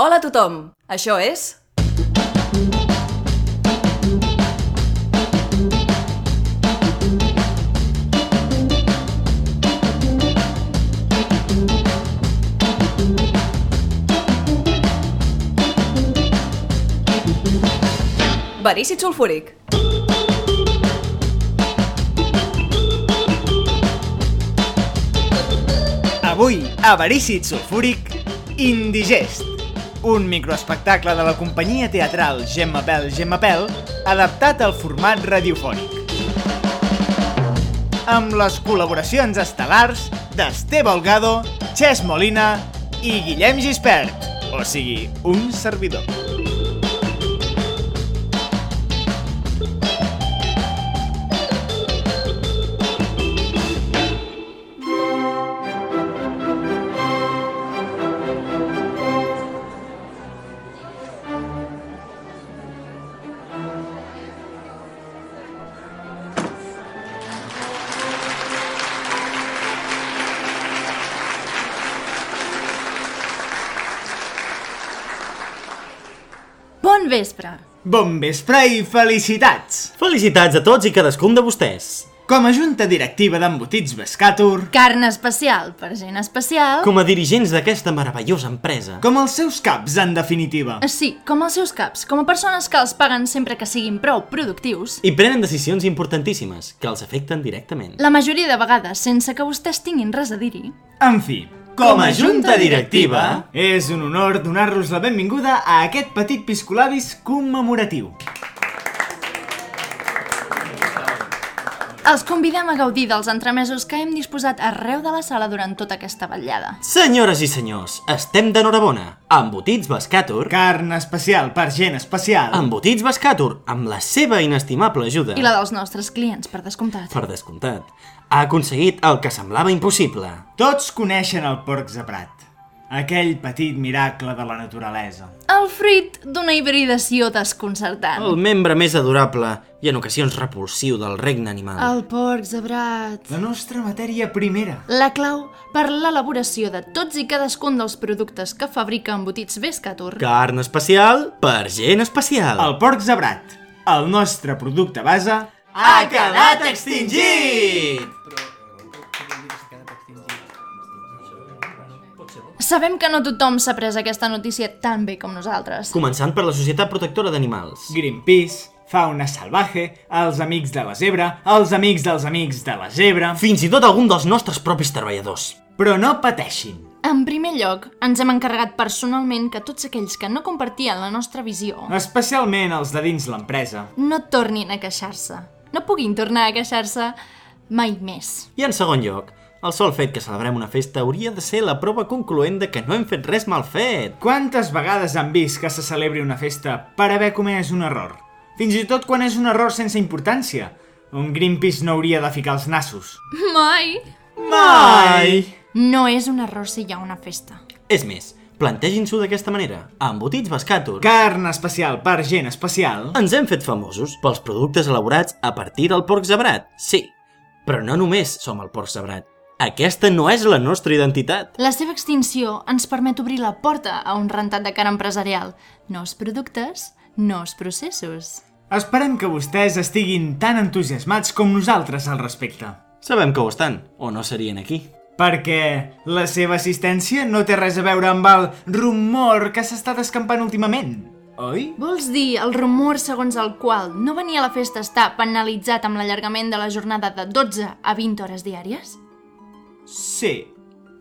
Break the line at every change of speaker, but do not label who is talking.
Hola a tothom! Això és... Verícid sulfúric.
Avui, Avarícid Sulfúric, Indigest. Un microespectacle de la companyia teatral Gemma Pèl Gemma Pèl adaptat al format radiofònic. Amb les col·laboracions estel·lars d'Esteve Olgado, Xes Molina i Guillem Gispert, o sigui, un servidor.
Bon vespre!
Bon vespre i felicitats!
Felicitats a tots i cadascun de vostès.
Com a junta directiva d'Embotits Bescàtor,
Carn especial per gent especial.
Com a dirigents d'aquesta meravellosa empresa.
com els seus caps, en definitiva.
Sí, com els seus caps, com a persones que els paguen sempre que siguin prou productius,
I prenen decisions importantíssimes que els afecten directament.
la majoria de vegades sense que vostès tinguin res a dir-hi.
En fi,
Com a junta directiva,
és un honor donar-los la benvinguda a aquest petit piscolabis commemoratiu.
Els convidem a gaudir dels entremesos que hem disposat arreu de la sala durant tota aquesta vetllada.
Senyores i senyors, estem d'enhorabona. Embotits Bascàtor,
Carn especial per gent especial.
Embotits Bascàtor, amb la seva inestimable ajuda,
I la dels nostres clients, per descomptat.
per descomptat, ha aconseguit el que semblava impossible.
Tots coneixen el porc zebrat, aquell petit miracle de la naturalesa.
El fruit d'una hibridació desconcertant.
El membre més adorable i en ocasions repulsiu del regne animal.
El porc zebrat.
La nostra matèria primera.
La clau per l'elaboració de tots i cadascun dels productes que fabrica embotits Bescatur.
Carn especial per gent especial.
El porc zebrat, el nostre producte base,
Sabem que no tothom s'ha pres aquesta notícia tan bé com nosaltres.
Començant per la Societat Protectora d'Animals.
Greenpeace, fauna salvaje, els amics de la zebra, els amics dels amics de la zebra...
Fins i tot algun dels nostres propis treballadors.
Però no pateixin,
En primer lloc, ens hem encarregat personalment que tots aquells que no compartien la nostra visió
especialment els de dins l'empresa.
no tornin a queixar-se. No puguin tornar a queixar-se mai més.
I en segon lloc, el sol fet que celebrem una festa hauria de ser la prova concloent de que no hem fet res mal fet.
Quantes vegades han vist que se celebri una festa per haver comès un error? Fins i tot quan és un error sense importància. Un Greenpeace no hauria de ficar els nassos.
Mai!
Mai!
No és un error si hi ha una festa.
És més, plantegin-s'ho d'aquesta manera, amb botits bascàtor.
Carn especial per gent especial.
Ens hem fet famosos pels productes elaborats a partir del porc zebrat, sí. Però no només som el porc zebrat. Aquesta no és la nostra identitat.
La seva extinció ens permet obrir la porta a un rentat de cara empresarial. Nous productes, nous processos.
Esperem que vostès estiguin tan entusiasmats com nosaltres al respecte.
Sabem que ho estan, o no serien aquí.
Perquè la seva assistència no té res a veure amb el rumor que s'està descampant últimament, oi?
Vols dir el rumor segons el qual no venir a la festa està penalitzat amb l'allargament de la jornada de 12 a 20 hores diàries?
Sí.